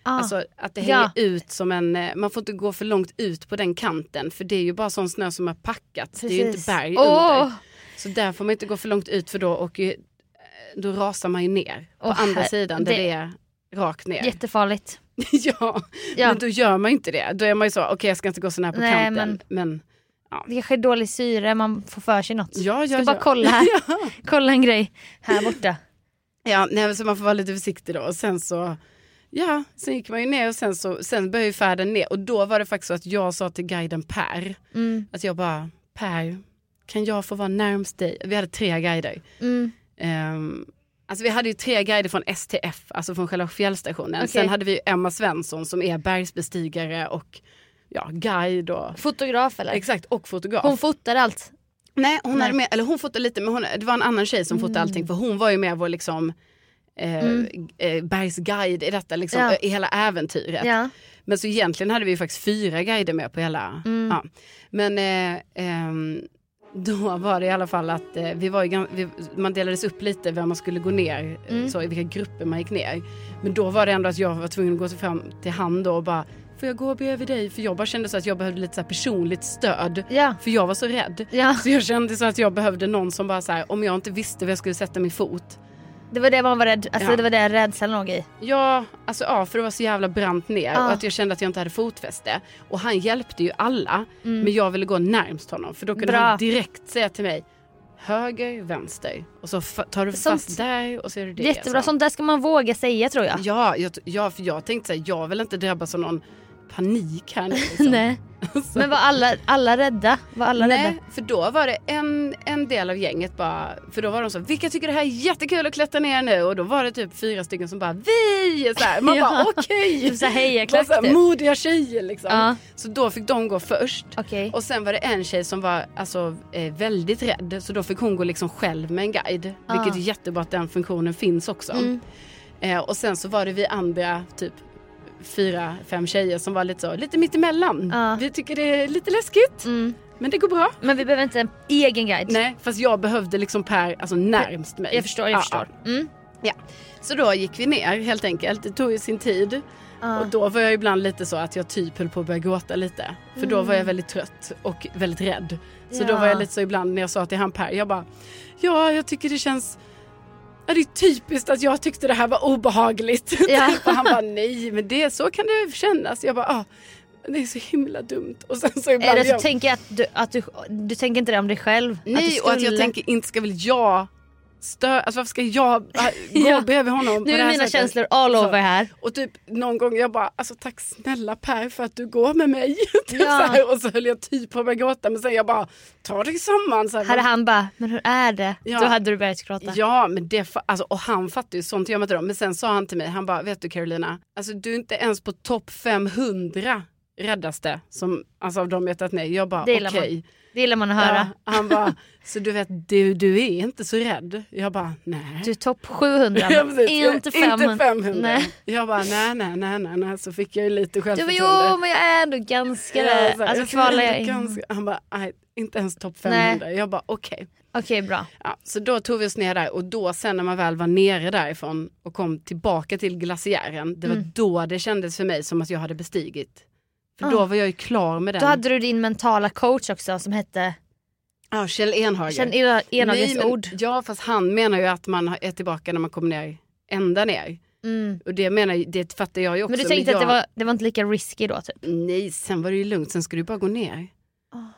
Ah.
Alltså att det hänger
Ja.
ut som en, eh, man får inte gå för långt ut på den kanten för det är ju bara sån snö som har packats, det är ju
Precis.
inte berg
Åh!
under. Så där får man inte gå för långt ut för då, åker ju, då rasar man ju ner på
Åh,
andra
herre-
sidan där
det-
det, är rakt ner.
Jättefarligt.
ja.
Ja.
men då gör man ju inte det. Då är man ju så, okej jag ska inte gå så nära på
Nej,
kanten. Men,
Det kanske är dålig syre, man får för sig något.
ja, ja,
Ska
ja.
bara kolla här. Kolla en grej här borta.
Ja, nej, men så man får vara lite försiktig då. Och sen så, ja, sen gick man ju ner och sen, så, sen började ju färden ner. Och då var det faktiskt så att jag sa till guiden Per,
Mm.
att jag bara, Per, kan jag få vara närmst dig? Vi hade tre guider.
Mm.
Ehm, alltså vi hade ju tre guider från STF, alltså från själva fjällstationen. Sen hade vi ju Emma Svensson som är bergsbestigare och ja, guide och
Fotograf eller?
Exakt, och fotograf.
Hon fotar allt.
Nej, hon, Hade med, eller hon fotade lite, men hon, det var en annan tjej som fotade
Mm.
allting för hon var ju med vår liksom, eh, eh, bergsguide i detta, liksom,
Ja.
eh, i hela äventyret.
Ja.
Men så egentligen hade vi ju faktiskt fyra guider med på hela.
Mm.
Ja. Men eh, ehm, då var det i alla fall att eh, vi var ju, gan- vi, man delades upp lite vem man skulle gå ner, eh,
Mm.
så, i vilka grupper man gick ner. Men då var det ändå att jag var tvungen att gå fram till han då och bara Får jag gå bredvid dig? För jag bara kände så att jag behövde lite så här personligt stöd.
Ja.
För jag var så rädd.
Ja.
Så jag kände så att jag behövde någon som bara så här, om jag inte visste var jag skulle sätta min fot.
Det var det man var rädd, alltså
Ja.
det var det rädslan låg i.
Ja, alltså ja, för det var så jävla brant ner och att jag kände att jag inte hade fotfäste. Och han hjälpte ju alla, men jag ville gå närmst honom för då kunde
Mm. Bra.
han direkt säga till mig höger, vänster och så fa- tar du
Sånt-
fast där och så är det det.
Jättebra,
Så.
sånt där ska man våga säga tror jag.
Ja, jag, t- ja, för jag tänkte så här, jag vill inte drabbas av någon panik här nu. Liksom.
Nej. Men var alla, alla rädda? Var alla
Nej,
rädda?
för då var det en, en del av gänget bara, för då var de så, vilka tycker det här är jättekul att klättra ner nu? Och då var det typ fyra stycken som bara, vi! Så här, man bara,
Ja.
okej!
Typ så här, "Heja,
Bara så här,
klack, typ."
Modiga tjejer liksom.
Ja.
Så då fick de gå först.
Okej.
Och sen var det en tjej som var alltså, eh, väldigt
Mm.
rädd, så då fick hon gå liksom själv med en guide. Vilket är jättebra att den funktionen finns också. Eh, och sen så var det vi andra, typ fyra, fem tjejer som var lite så, lite mittemellan.
Ja.
Vi tycker det är lite läskigt,
Mm.
men det går bra.
Men vi behöver inte en egen guide.
Nej, fast jag behövde liksom Per, alltså närmst mig.
Jag förstår, jag
Ja,
förstår.
ja.
Mm.
Så då gick vi ner helt enkelt. Det tog ju sin tid.
Ja.
Och då var jag ibland lite så att jag typ höll på att börja gråta lite. För då var jag väldigt trött och väldigt rädd. Så då
Mm. Ja.
var jag lite så ibland när jag sa till han Per, jag bara, ja jag tycker det känns Ja, det är typiskt att jag tyckte det här var obehagligt.
Ja.
Typ. och han bara nej men det, så kan det kännas. Jag bara ah, det är så himla dumt. Och sen så ibland
Eller så
jag,
tänker jag att du, att du, du tänker inte det om dig själv.
nej
du
och att jag
skulle-
tänker inte ska väl jag störa, alltså varför ska jag äh, gå
Ja.
bredvid honom
Nu
på det
är
här
mina
sättet?
känslor all
Så.
over här.
Och typ någon gång jag bara, alltså tack snälla Per för att du går med mig. Typ
Ja.
så här, och så höll jag typ på att börja gråta men sen jag bara, ta dig samman. Så här,
Hade han bara, men hur är det?
Ja.
Då hade du börjat gråta.
Ja, men det, fa- alltså, och han fattar ju sånt jag mötte dem. Men sen sa han till mig, han bara, vet du Carolina, alltså du är inte ens på topp 500 räddaste som, alltså, av dem jag tagit ner. Jag bara,
Det
okej.
gillar Det gillar man att höra.
Ja, han bara, så du vet, du, du är inte så rädd. Jag bara, nej.
Du är topp 700
Ja,
men
precis. Jag-
inte 500.
Inte 500.
Nej.
Jag bara nej, nej, nej, nej, nej, så fick jag ju lite
Du bara,
självförtroende.
jo men jag är ändå ganska
Ja, så
där.
här,
Alltså
jag tror
kvalar
ändå
jag in.
ganska- Han bara, nej, inte ens topp 500. Jag bara, okej.
Okej bra.
Ja, så då tog vi oss ner där och då sen när man väl var nere därifrån och kom tillbaka till glaciären, det var
Mm.
då det kändes för mig som att jag hade bestigit. För
Ah.
då var jag ju klar med den.
Då hade du din mentala coach också som hette
Ja, Kjell Enhager.
Känn era- Enhagens
Nej, men-
ord.
Ja, fast han menar ju att man är tillbaka när man kommer ner, ända ner.
Mm.
Och det menar ju- det fattar jag ju också.
Men du tänkte
jag...
att det var, det var inte lika risky då typ?
Nej, sen var det ju lugnt. Sen ska du bara gå ner.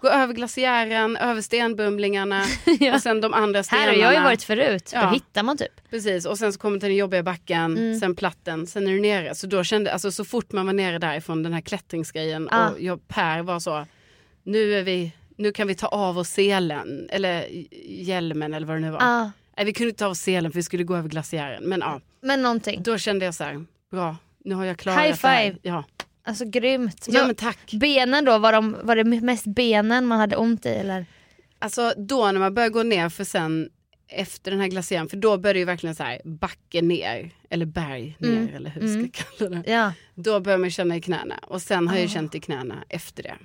Gå över glaciären, över stenbumlingarna
Ja.
och sen de andra stenarna.
Här har jag ju varit förut.
Ja.
Då hittar man typ.
Precis, och sen så kommer till den jobbiga backen,
Mm.
sen platten, sen är du nere. Så då kände, alltså så fort man var nere därifrån den här klättringsgrejen
Ah.
och jag, Per var så, nu är vi, nu kan vi ta av oss selen, eller hjälmen eller vad det nu var.
Ah.
Nej, vi kunde inte ta av selen för vi skulle gå över glaciären. Men ja,
Men någonting.
då kände jag så här, bra, nu har jag klarat
High
det här.
five.
Ja.
Alltså grymt.
ja,
Då-
men tack.
Benen då, var, de, var det mest benen man hade ont i eller?
Alltså då när man börjar gå ner för sen efter den här glaciären, för då börjar det ju verkligen så här backe ner, eller berg ner
Mm.
eller hur vi ska
Mm.
kalla det.
Ja. Ah.
Då börjar man känna i knäna och sen har jag känt i knäna efter det.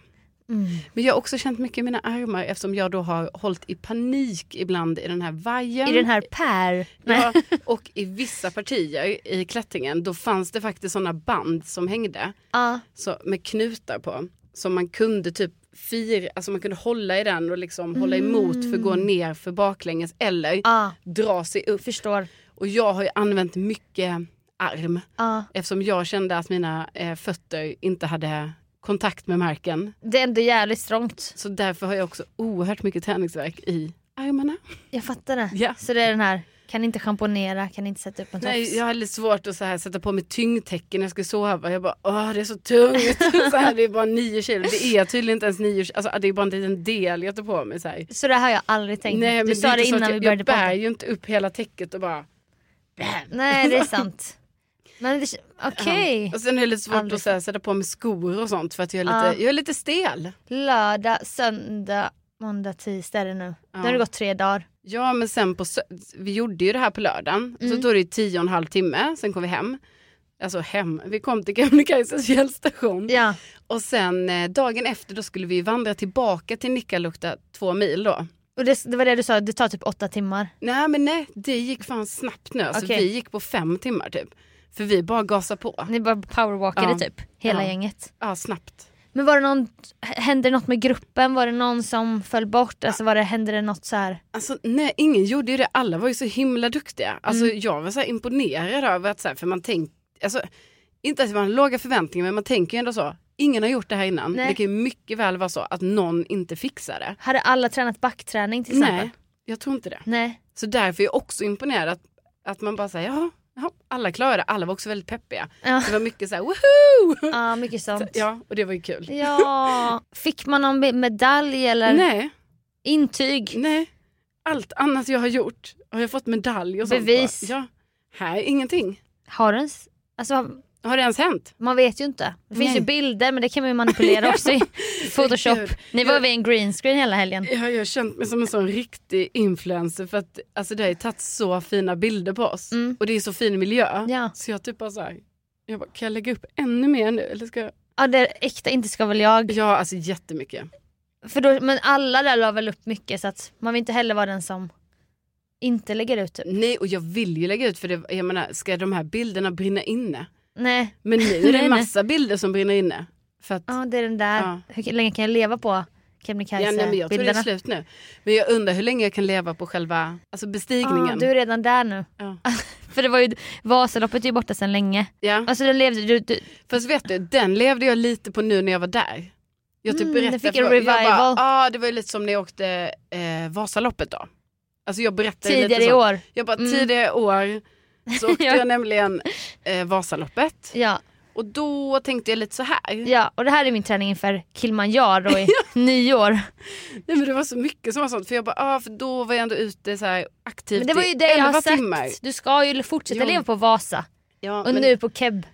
Mm.
Men jag har också känt mycket i mina armar eftersom jag då har hållit i panik ibland i den här vajern.
I den här Per.
Ja, och i vissa partier i klättringen då fanns det faktiskt sådana band som hängde
Ja.
så, med knutar på. Som man kunde typ fira, alltså man kunde hålla i den och liksom hålla emot för att gå ner för baklänges eller
Mm. Ja.
dra sig upp.
Förstår.
Och jag har ju använt mycket arm
Ja.
eftersom jag kände att mina eh, fötter inte hade kontakt med marken.
Det är ändå jävligt strångt.
Så därför har jag också oerhört mycket träningsverk i armarna.
Jag fattar det.
Ja.
Så det är den här, kan inte schamponera, kan inte sätta upp en tofs.
Nej, jag hade lite svårt att så här, sätta på mig tyngdtäcke när jag skulle sova. Jag bara, åh det är så tungt. så här, det är bara nio kilo. Det är tydligen inte ens nio kilo. Alltså, det är bara en liten del jag tar på mig. Så här.
Så det här har jag aldrig tänkt.
Nej, men
du
är
sa det
inte så att
innan vi
jag,
började
Jag bär
podda.
ju inte upp hela täcket och bara...
Nej det är sant. Men det- okej.
Och sen är det lite svårt
Aldrig
att så här, sätta på mig skor och sånt för att jag är lite,
Ja.
jag är lite stel.
Lördag, söndag, måndag, tisdag är det nu.
Ja.
Nu har det gått tre dagar.
Ja men sen på sö- vi gjorde ju det här på lördagen,
Mm.
så tog det ju tio och en halv timme, sen kom vi hem. Alltså hem, vi kom till Kebnekaises fjällstation.
Ja.
Och sen eh, dagen efter då skulle vi ju vandra tillbaka till Nikkaluokta två mil då.
Och det, det var det du sa, det tar typ åtta timmar.
Nej men nej, det gick fan snabbt nu. Alltså,
Okej.
Vi gick på fem timmar typ. För vi bara gasade på.
Ni bara powerwalkade
Ja.
typ, hela
Ja.
gänget.
Ja snabbt.
Men var det någon, hände något med gruppen? Var det någon som föll bort? Alltså var det, hände det något så här?
Alltså nej, ingen gjorde ju det. Alla var ju så himla duktiga. Alltså
Mm.
jag var så här imponerad över att så här, för man tänkte, alltså inte att man har låga förväntningar men man tänker ju ändå så. Ingen har gjort det här innan.
Nej.
Det kan ju mycket väl vara så att någon inte fixar det.
Hade alla tränat backträning till exempel?
Nej, jag tror inte det.
Nej.
Så därför är jag också imponerad att, att man bara säger ja, ja, alla klarade det. Alla var också väldigt peppiga.
Ja.
Det var mycket så här woohoo!
Ja, mycket sånt.
Ja, och det var ju kul.
Ja. Fick man någon be- medalj eller
Nej,
intyg?
nej. Allt annat jag har gjort har jag fått medalj och sånt
Bevis.
på. Ja. Här, ingenting.
Har du en... s- Alltså,
Har det ens hänt?
Man vet ju inte. Det finns
Nej.
ju bilder men det kan man ju manipulera också i Photoshop.
Gud.
Ni var vid en green screen hela helgen.
Jag har ju känt mig som en sån riktig influencer för att alltså, det har ju tagit så fina bilder på oss.
Mm.
Och det är så fin miljö.
Ja.
Så jag typ bara så här, jag bara, kan jag lägga upp ännu mer nu? Eller ska jag?
Ja det är äkta inte ska väl jag.
Ja, alltså jättemycket.
För då, men alla där la väl upp mycket så att man vill inte heller vara den som inte lägger ut typ.
Nej, och jag vill ju lägga ut för det, jag menar, ska de här bilderna brinna inne?
Nej,
Men nu är det
Nej,
en
nej.
massa bilder som brinner inne. För att,
ja, det är den där.
Ja.
Hur länge kan jag leva på
ja, nej, men jag tror det är
Kebnekaise-bilderna?
slut nu. Men jag undrar hur länge jag kan leva på själva alltså bestigningen.
ah, du är redan där nu.
ja.
För det var ju, Vasaloppet är ju borta sedan länge.
Ja.
Alltså den levde, du, du,
Fast vet du, den levde jag lite på nu när jag var där. Jag typ
Mm,
berättade
den fick
för-
en revival.
Jag bara, ah, det var ju lite som när jag åkte eh, Vasaloppet då. Alltså jag berättade
tidigare
lite
i
så.
år.
Jag bara,
Mm.
tidigare år så åkte
Ja.
jag nämligen eh, Vasaloppet.
Ja,
Och då tänkte jag lite så här.
ja, och det här är min träning inför Kilimanjaro i nyår.
Nej, men det var så mycket som var sånt. För jag bara, ah, för då var jag ändå ute så här aktivt
Men det var
i
ju det jag
11
har sagt.
timmar.
Du ska ju fortsätta
Ja.
leva på Vasa
Ja,
och
men-
nu på Keb.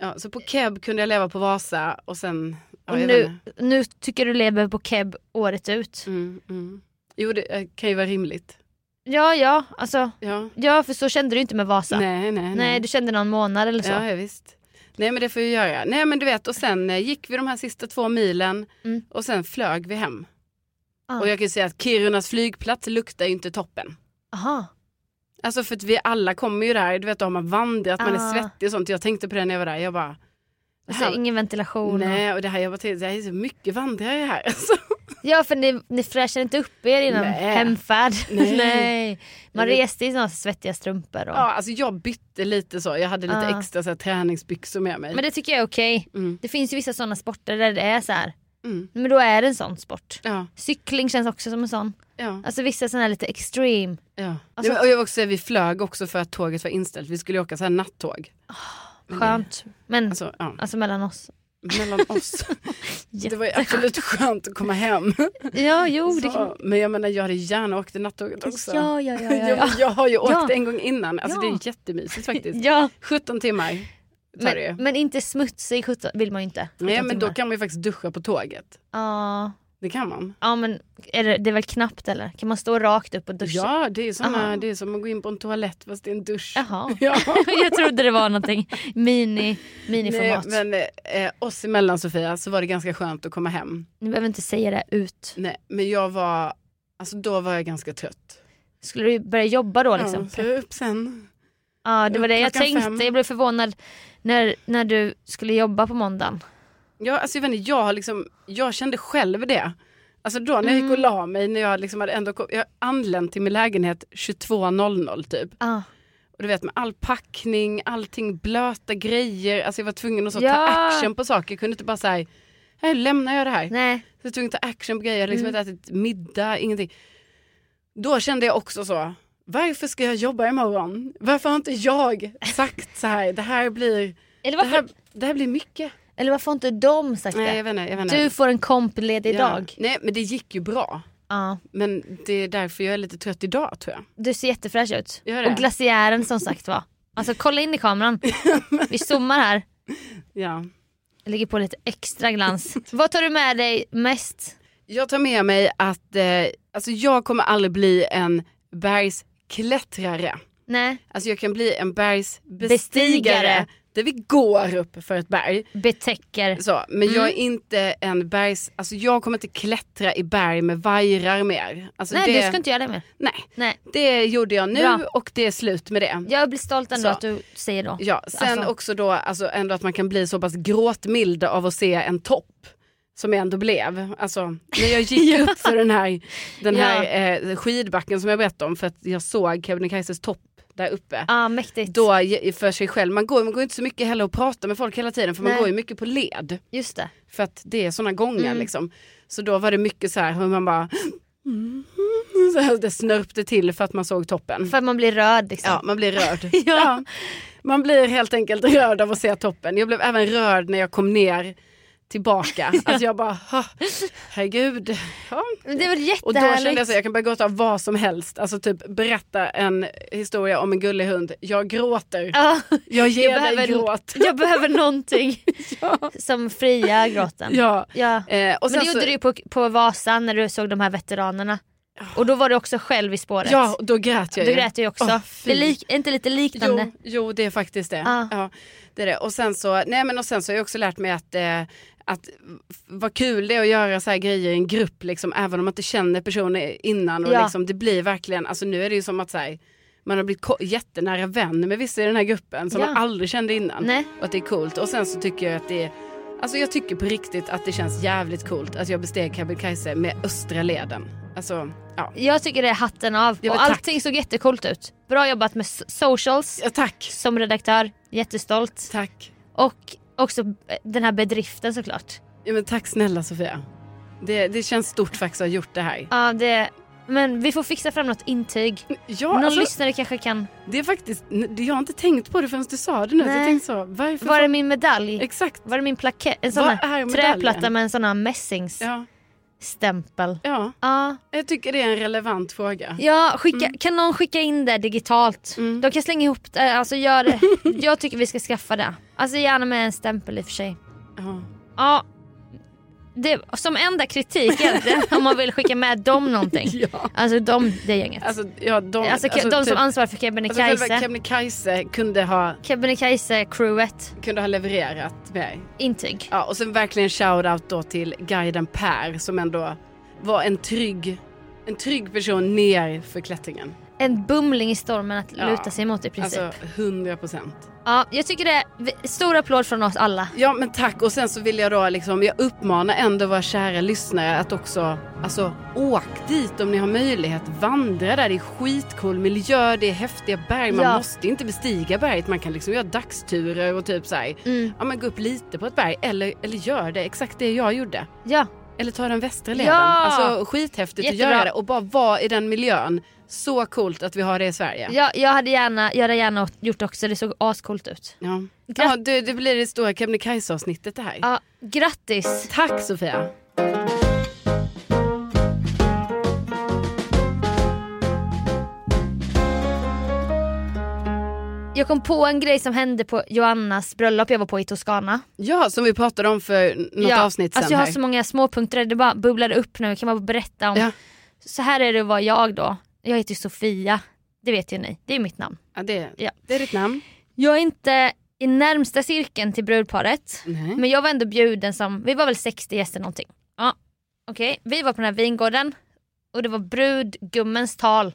Ja, så på Keb kunde jag leva på Vasa och sen... Ja,
Och
jag vet
nu,
inte.
nu tycker du lever på Keb året ut.
Mm, mm. Jo, det eh, kan ju vara rimligt.
Ja, ja, alltså.
Ja.
Ja, för så kände du inte med Vasa. Nej,
Nej, nej, nej.
du kände någon månad eller så.
ja, ja, visst. Nej, men det får jag göra. Nej, men du vet, och sen eh, gick vi de här sista två milen
Mm.
och sen flög vi hem.
Ah.
Och jag kan ju säga att Kirunas flygplats luktar ju inte toppen.
Aha.
Alltså för att vi alla kommer ju där, du vet, då har man vandrat, man
Ah.
är svettig och sånt. Jag tänkte på det när jag var där, jag bara... det
Alltså,
här-
ingen ventilation. och-
Nej, och det här jag bara tänkte, det här är så mycket vandrare här. Alltså.
Ja, för ni, ni fräschade inte upp er innan
Nej.
hemfärd.
Nej.
Nej. Man
Nej, det-
reste i såna svettiga strumpor. Och...
Ja, alltså jag bytte lite så, jag hade lite
Ah.
extra så här, träningsbyxor med mig.
Men det tycker jag är okej.
Mm.
Det finns ju vissa sådana sporter där det är så här.
Mm.
men då är det en sån sport.
Ja,
Cykling känns också som en sån.
ja,
Alltså vissa sådana här lite extreme.
ja.
Alltså-
Nej, men- och jag vill också säga, vi flög också för att tåget var inställt. Vi skulle ju åka så här nattåg.
Ah, Skönt. Men alltså,
Alltså, ja,
mellan oss.
mellan oss. det var ju absolut skönt att komma hem.
Ja, jo. Det kan...
Så, men jag menar, jag hade gärna åkt det nattåget också.
Ja, ja, ja. ja,
Jag,
ja.
men jag har ju åkt
Ja.
en gång innan. Alltså
Ja.
det är jättemysigt faktiskt.
ja.
17 timmar tar det ju.
Men, men inte smutsig 17 vill man ju inte. 17
Nej men då
timmar.
kan man ju faktiskt duscha på tåget.
Ja,
Det kan man.
ja men är det, det är väl knappt eller? Kan man stå rakt upp och duscha?
Ja, det är,
Aha.
såna, det är som att gå in på en toalett fast det är en dusch.
Jaha.
Ja.
jag trodde det var någonting mini,
Nej,
miniformat.
men eh, oss emellan Sofia så var det ganska skönt att komma hem.
Ni behöver inte säga det ut.
Nej, men jag var, alltså då var jag ganska trött.
Skulle du börja jobba då liksom?
Ja, så jag är upp sen.
Ja, det var det jag
Klockan
tänkte.
fem.
Jag blev förvånad när, när du skulle jobba på måndagen.
Ja, alltså jag, vet inte, jag, har liksom, jag kände själv det. Alltså då när jag
Mm.
gick och la mig, när jag liksom hade ändå kom, jag anlänt till min lägenhet 22.00 typ.
Ah.
Och du vet med all packning, allting, blöta grejer. Alltså jag var tvungen att så
Ja.
ta action på saker. Jag kunde inte bara säga, här lämnar jag det här.
Nej, Mm.
Så jag var tvungen att ta action på grejer. Jag hade liksom inte ätit middag, ingenting. Då kände jag också så, varför ska jag jobba imorgon? Varför har inte jag sagt så här, det här blir,
eller
det
varför,
här, det här blir mycket.
eller varför har inte de sagt
Nej, jag
det?
vet inte, jag vet inte.
Du får en kompledig
Ja.
dag.
Nej men det gick ju bra.
Ja.
Men det är därför jag är lite trött idag tror jag.
Du ser jättefräsch ut.
Gör det?
Och glaciären som sagt var. Alltså kolla in i kameran. Vi zoomar här.
Ja.
Jag lägger på lite extra glans. Vad tar du med dig mest?
Jag tar med mig att eh, alltså jag kommer aldrig bli en bergsklättrare.
Nej,
Alltså jag kan bli en bergsbestigare.
Bestigare.
Där vi går upp för ett berg.
betäcker. Mm.
Så, men jag är inte en bergs... Alltså jag kommer inte klättra i berg med vajrar mer. Alltså
Nej,
det,
du ska inte göra det mer.
nej,
Nej.
det gjorde jag nu
Bra.
och det är slut med det.
Jag blir stolt ändå
Så.
att du säger då.
Ja, sen
Alltså.
också då alltså ändå att man kan bli så pass gråtmild av att se en topp. Som jag ändå blev. Alltså när jag gick upp för den här, den
Ja.
här eh, skidbacken som jag berättade om för att jag såg Kebnekaises topp där uppe.
Ah, mäktigt.
Då ge- för sig själv, man går, man går inte så mycket heller och pratar med folk hela tiden för man
Nej.
går ju mycket på led.
Just det.
För att det är sådana gångar
Mm.
liksom. Så då var det mycket så här hur man bara så här, det snörpte till för att man såg toppen.
För att man blir röd liksom.
Ja, man blir rörd. ja. Man blir helt enkelt rörd av att se toppen. Jag blev även rörd när jag kom ner
tillbaka. Alltså jag bara, "Ha, herregud. Ja.
Men Det var
Och då kände
jättehärligt.
jag så jag kan börja gråta av vad som helst. Alltså typ berätta en historia om en gullig hund. Jag gråter.
Ja,
Jag ger
jag
dig
behöver-
gråt.
jag behöver någonting som friar gråten.
Ja.
Ja.
Eh, och
Men
sen
det gjorde
så,
du ju på, på Vasan när du såg de här veteranerna. Och då var du också själv i spåret.
Ja, och då grät jag
du
ju.
grät ju också.
Åh, fy.
det är lik, är inte lite liknande?
Jo, jo, det är faktiskt det.
Ja.
Ja, det, är det. Och, sen så, nej, men och sen så har jag också lärt mig att, eh, att vad kul det är att göra så här grejer i en grupp, liksom, även om man inte känner personer innan. Och
Ja.
liksom, det blir verkligen, alltså, nu är det ju som att så här, man har blivit ko- jättenära vän med vissa i den här gruppen som
Ja.
man aldrig kände innan.
Nej.
Och att det är coolt. Och sen så tycker jag att det är Alltså jag tycker på riktigt att det känns jävligt coolt att jag besteg Kebnekaise med östra leden. Alltså, ja.
Jag tycker det är hatten av.
Ja,
och
men tack.
allting såg jättekult ut. Bra jobbat med so- socials
ja tack.
som redaktör. Jättestolt.
Tack.
Och också eh, den här bedriften såklart.
Ja, men tack snälla Sofia. Det, det känns stort faktiskt att ha gjort det här.
Ja, det, men vi får fixa fram något intyg.
Ja,
Någon
alltså,
lyssnare kanske kan.
det är faktiskt, det- jag har inte tänkt på det förrän du sa det nu. Så
Nej.
jag tänkte så, varför?
Var är
fan-
min medalj?
Exakt.
Var är min plakett? En sån
Var
här
är medaljen?
träplatta med en sån här mässingsstämpel.
Ja, ja,
Ja.
jag tycker det är en relevant fråga. Mm.
Ja, skicka, kan någon skicka in det digitalt? De kan slänga ihop det. Alltså gör det. Jag tycker vi ska skaffa det. Alltså gärna med en stämpel i och för sig.
Ja.
Ja, det, som enda kritik egentligen om man vill skicka med dem någonting.
Ja.
Alltså de, det gänget. Alltså,
Alltså, ja, de,
ke- de som
typ-
ansvarar för
alltså, själva
Kebnekaise.
Kebnekaise kunde ha,
Kebnekaise-crewet.
kunde ha levererat mig.
Intyg.
Ja, och sen verkligen shout-out då till guiden Per som ändå var en trygg, en trygg person ner för klättringen.
En bumling i stormen att
Ja.
luta sig mot i princip.
Alltså 100 procent.
Ja, jag tycker det är vi- stor applåd från oss alla.
Ja men tack och sen så vill jag då liksom, jag uppmanar ändå våra kära lyssnare Eh, att också, alltså åk dit om ni har möjlighet, vandra där, det är skitcool miljö, det är häftiga berg, man
Ja.
måste inte bestiga berget, man kan liksom göra dagsturer och typ såhär,
Mm.
ja men gå upp lite på ett berg eller, eller gör det exakt det jag gjorde.
Ja,
Eller ta den västra leden.
Ja!
Alltså skithäftigt
Jättebra.
att göra det och bara vara i den miljön. Så coolt att vi har det i Sverige.
jag, jag hade gärna, jag hade gärna gjort också. Det såg ascoolt ut.
Ja. Ja, det, det blir det stora Kebnekaise-avsnittet det här.
Ja, grattis!
Tack Sofia!
Jag kom på en grej som hände på Joannas bröllop jag var på i Toscana.
Ja, som vi pratade om för något avsnitt sen.
alltså jag har
här.
så många småpunkter, det bara bubblar upp nu. Kan man berätta om.
Ja.
Så här är det att vara jag då. Jag heter ju Sofia, det vet ju ni. Det är mitt namn.
ja, det,
Ja.
det är ditt namn.
Jag är inte i närmsta cirkeln till brudparet.
Nej.
Men jag var ändå bjuden som, vi var väl 60 gäster någonting. Ja, okej. Vi var på den här vingården och det var brudgummens tal.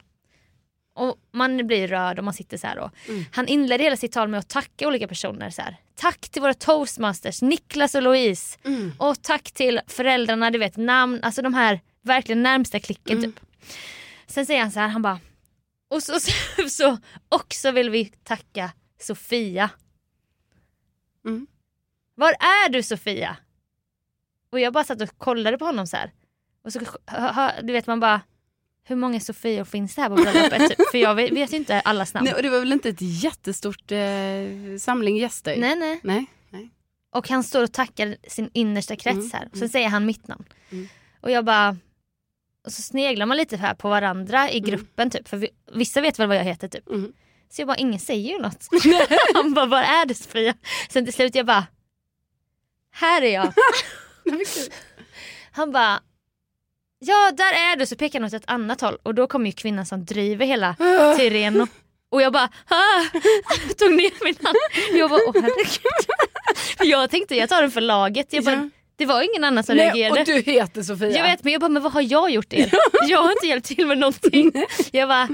Och man blir rörd och man sitter så här då. Han inledde hela sitt tal med att tacka olika personer så här. Tack till våra toastmasters, Niklas och Louise. Och tack till föräldrarna, du vet namn, alltså de här verkligen närmsta klicken typ. Sen säger han så här, han bara och så, så, så också vill vi tacka Sofia.
Mm.
Var är du Sofia? Och jag bara satt och kollade på honom så här. Och så, hö- hö- du vet man bara, hur många Sofior finns det här på bröllopet? typ? För jag vet, vet ju inte allas namn.
Nej, och det var väl inte ett jättestort eh, samling gäster?
Nej, nej.
Nej. Nej.
Och han står och tackar sin innersta krets
Mm,
här. Sen säger han mitt namn. Och jag bara... Och så sneglar man lite här på varandra i gruppen typ. För vi, vissa vet väl vad jag heter typ.
Mm.
Så jag bara, ingen säger ju något. han bara, var är du Sofia? Sen till slut jag bara, här är jag.
Nej, men gud.
Han bara, ja där är du. Så pekar han åt ett annat håll och då kommer ju kvinnan som driver hela
Ah.
Tireno. Och jag bara, ah! tog ner min hand. Jag bara, åh herregud. För jag tänkte jag tar den för laget. Jag bara,
Ja.
Det var ingen annan som
Nej,
reagerade.
och du heter Sofia.
Jag vet men jag bara, men vad har jag gjort er? Jag har inte hjälpt till med någonting. Jag bara,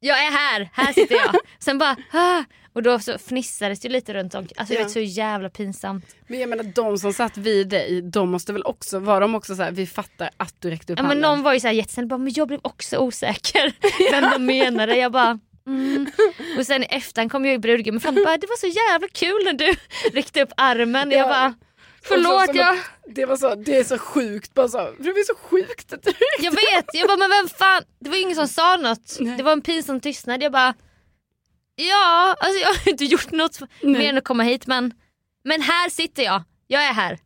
jag är här, här sitter jag. Sen bara, ah! och då så fnissades det lite runt om. Alltså det
Ja.
var så jävla pinsamt.
Men jag menar de som satt vid dig, de måste väl också, var de också så här, vi fattar att du räckte upp
Ja, men
handen.
någon var ju såhär jättesnäll bara, men jag blev också osäker vem de menade. Jag bara, mm. Och sen i efterhand kom jag i brudgummen fram och bara, det var så jävla kul när du räckte upp armen. Jag
Ja.
bara,
Och
förlåt
så- som
jag,
att- Det var så, det är så sjukt bara så, det är så sjukt att du
jag vet. Jag bara, men vem fan, det var ju ingen som sa något.
Nej.
Det var en pinsam tystnad. Jag bara, ja, alltså jag har inte gjort något mer än att komma hit men, men här sitter jag. jag är här.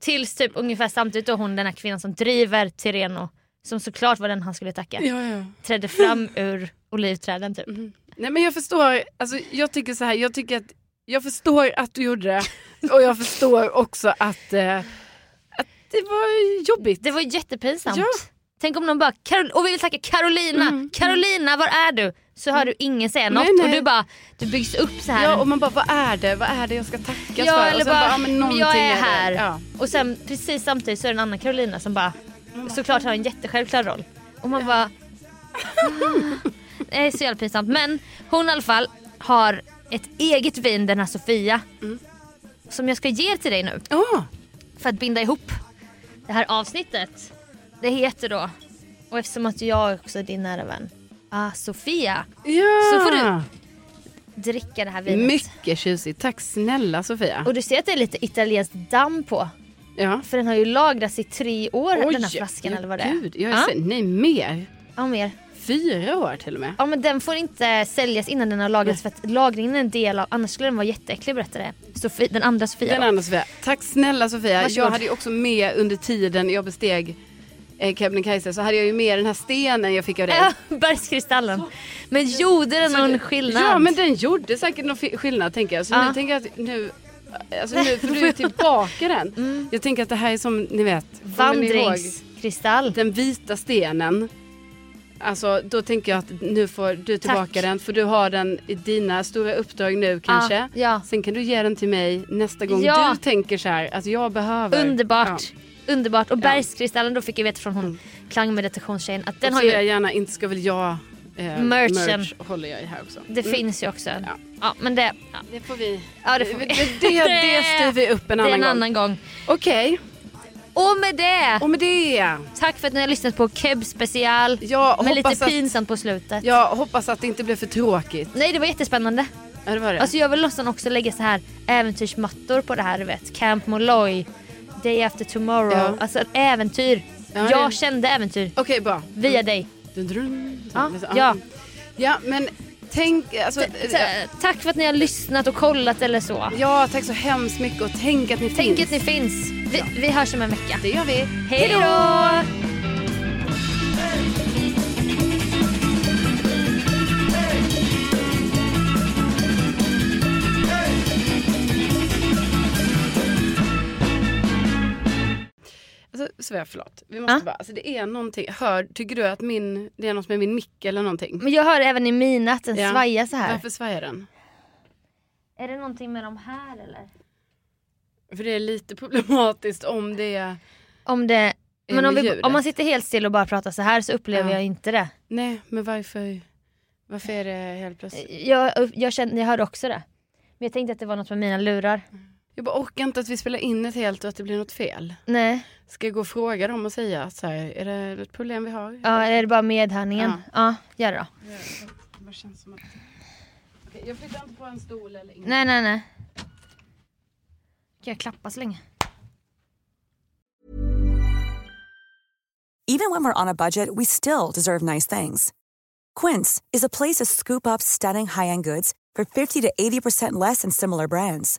Tills typ ungefär samtidigt då hon den här kvinnan som driver Tireno, som såklart var den han skulle tacka,
Ja, Mm. ja.
trädde fram ur olivträden typ.
Nej men jag förstår, alltså, jag tycker så här, jag tycker att jag förstår att du gjorde det och jag förstår också att, eh, att det var jobbigt.
Det var jättepinsamt.
Ja. Mm.
Tänk om någon bara, Karol- och vi vill tacka Carolina, Carolina var är du? Så hör du ingen säga något
Nej, nej.
och du bara, du byggs upp så här.
Ja och man bara, vad är det, vad är det jag ska tackas
Ja,
för? Och
eller
sen
bara,
ja, men
"Men
någonting
jag är
det."
här.
Ja.
Och sen precis samtidigt så är det en annan Carolina som bara
Mm.
såklart har en jättesjälvklar roll. Och man bara... "Ah." Det är så jävla pinsamt. Men hon i alla fall har ett eget vin den här Sofia.
Mm.
Som jag ska ge till dig nu
Ja.
för att binda ihop det här avsnittet. Det heter då, och eftersom att jag också är din nära vän, ah, Sofia.
ja.
Så får du Dricka det här vinet.
Mycket tjusigt, tack snälla Sofia.
Och du ser att det är lite italienskt damm på.
Ja.
För den har ju lagrats i tre år den här
Oj,
flaskan
ja,
eller vad det är.
Gud, jag
ja.
är sen, nej mer,
ja, mer.
fyra år till och med.
Ja men den får inte säljas innan den har lagrats för att lagringen är en del av, annars skulle den vara jätteäcklig berättade Sofie, den andra Sofia.
Den
då.
andra Sofia. Tack snälla Sofia.
Varsågod.
Jag hade ju också med under tiden jag besteg eh, Kebnekaise så hade jag ju med den här stenen jag fick av dig.
Ja, Bergskristallen. Men gjorde den någon skillnad?
Ja men den gjorde säkert någon fi- skillnad tänker jag. Så
Ja.
nu tänker jag att nu, alltså nu för du är tillbaka den.
Mm.
Jag tänker att det här är som ni vet, kommer ni ihåg
Vandringskristall.
den vita stenen. Alltså då tänker jag att nu får du tillbaka
Tack.
den för du har den i dina stora uppdrag nu kanske.
Ah, ja.
Sen kan du ge den till mig nästa gång
Ja.
du tänker så här att jag behöver. Ja. Mm.
Underbart. Underbart. Och bergskristallen då fick jag veta från hon klangmeditationstjejen att den
och
har
så är jag
ju,
gärna inte ska väl jag eh,
Merchen.
merch håller jag i här också.
det finns ju också. Ja,
Ja.
men det, ja,
Det får vi.
ja, det får vi.
Det, det, det styr vi upp en
Det är
annan,
en
gång.
annan gång.
Okej,
Och med det,
och med det.
tack för att ni har lyssnat på Keb special.
Jag
men
hoppas
lite
att-
pinsamt på slutet.
Jag hoppas att det inte blev för tråkigt.
Nej det var jättespännande.
Ja, det var det.
Alltså jag vill nästan också lägga så här äventyrsmattor på det här du vet. Camp Molloy, Day After Tomorrow.
Ja.
Alltså ett äventyr.
Ja,
jag
det-
kände äventyr
Okej, bra.
via dig.
Dun, dun, dun.
Ja,
Ah.
ja.
Ja, men tänk... Alltså,
Ta- Tack för att ni har lyssnat och kollat eller så.
ja, tack så hemskt mycket och tänk att ni
Tänk
finns.
att ni finns. Vi, vi hörs om en vecka.
Det gör vi.
Hej då!
Alltså, Svea, förlåt. Vi måste
Ja.
bara... Alltså, det är någonting. Hör, tycker du att min... Det är något med min mick eller någonting?
Men jag hör även i mina att den
Ja.
svajar så här.
Varför svajar den?
Är det någonting med de här eller?
För det är lite problematiskt om det är...
Om det... Men om,
med
vi,
ljudet.
om man sitter helt still och bara pratar så här så upplever
Ja.
jag inte det.
Nej, men varför... Varför är det helt plötsligt?
Jag, jag, kände, jag hörde också det. Men jag tänkte att det var något med mina lurar.
Jag bara orkar inte att vi spelar in ett helt och att det blir något fel.
Nej.
Ska jag gå och fråga dem och säga att så här, är det ett problem vi har?
Ja, är det bara medhörningen? Ja, gör det då.
Vad känns som att... Okej, jag flyttar inte på en stol eller inget.
Nej, nej, nej. Kan jag klappa så länge?
Even when we're on a budget, we still deserve nice things. Quince is a place to scoop up stunning high-end goods for 50 to 80% less than similar brands.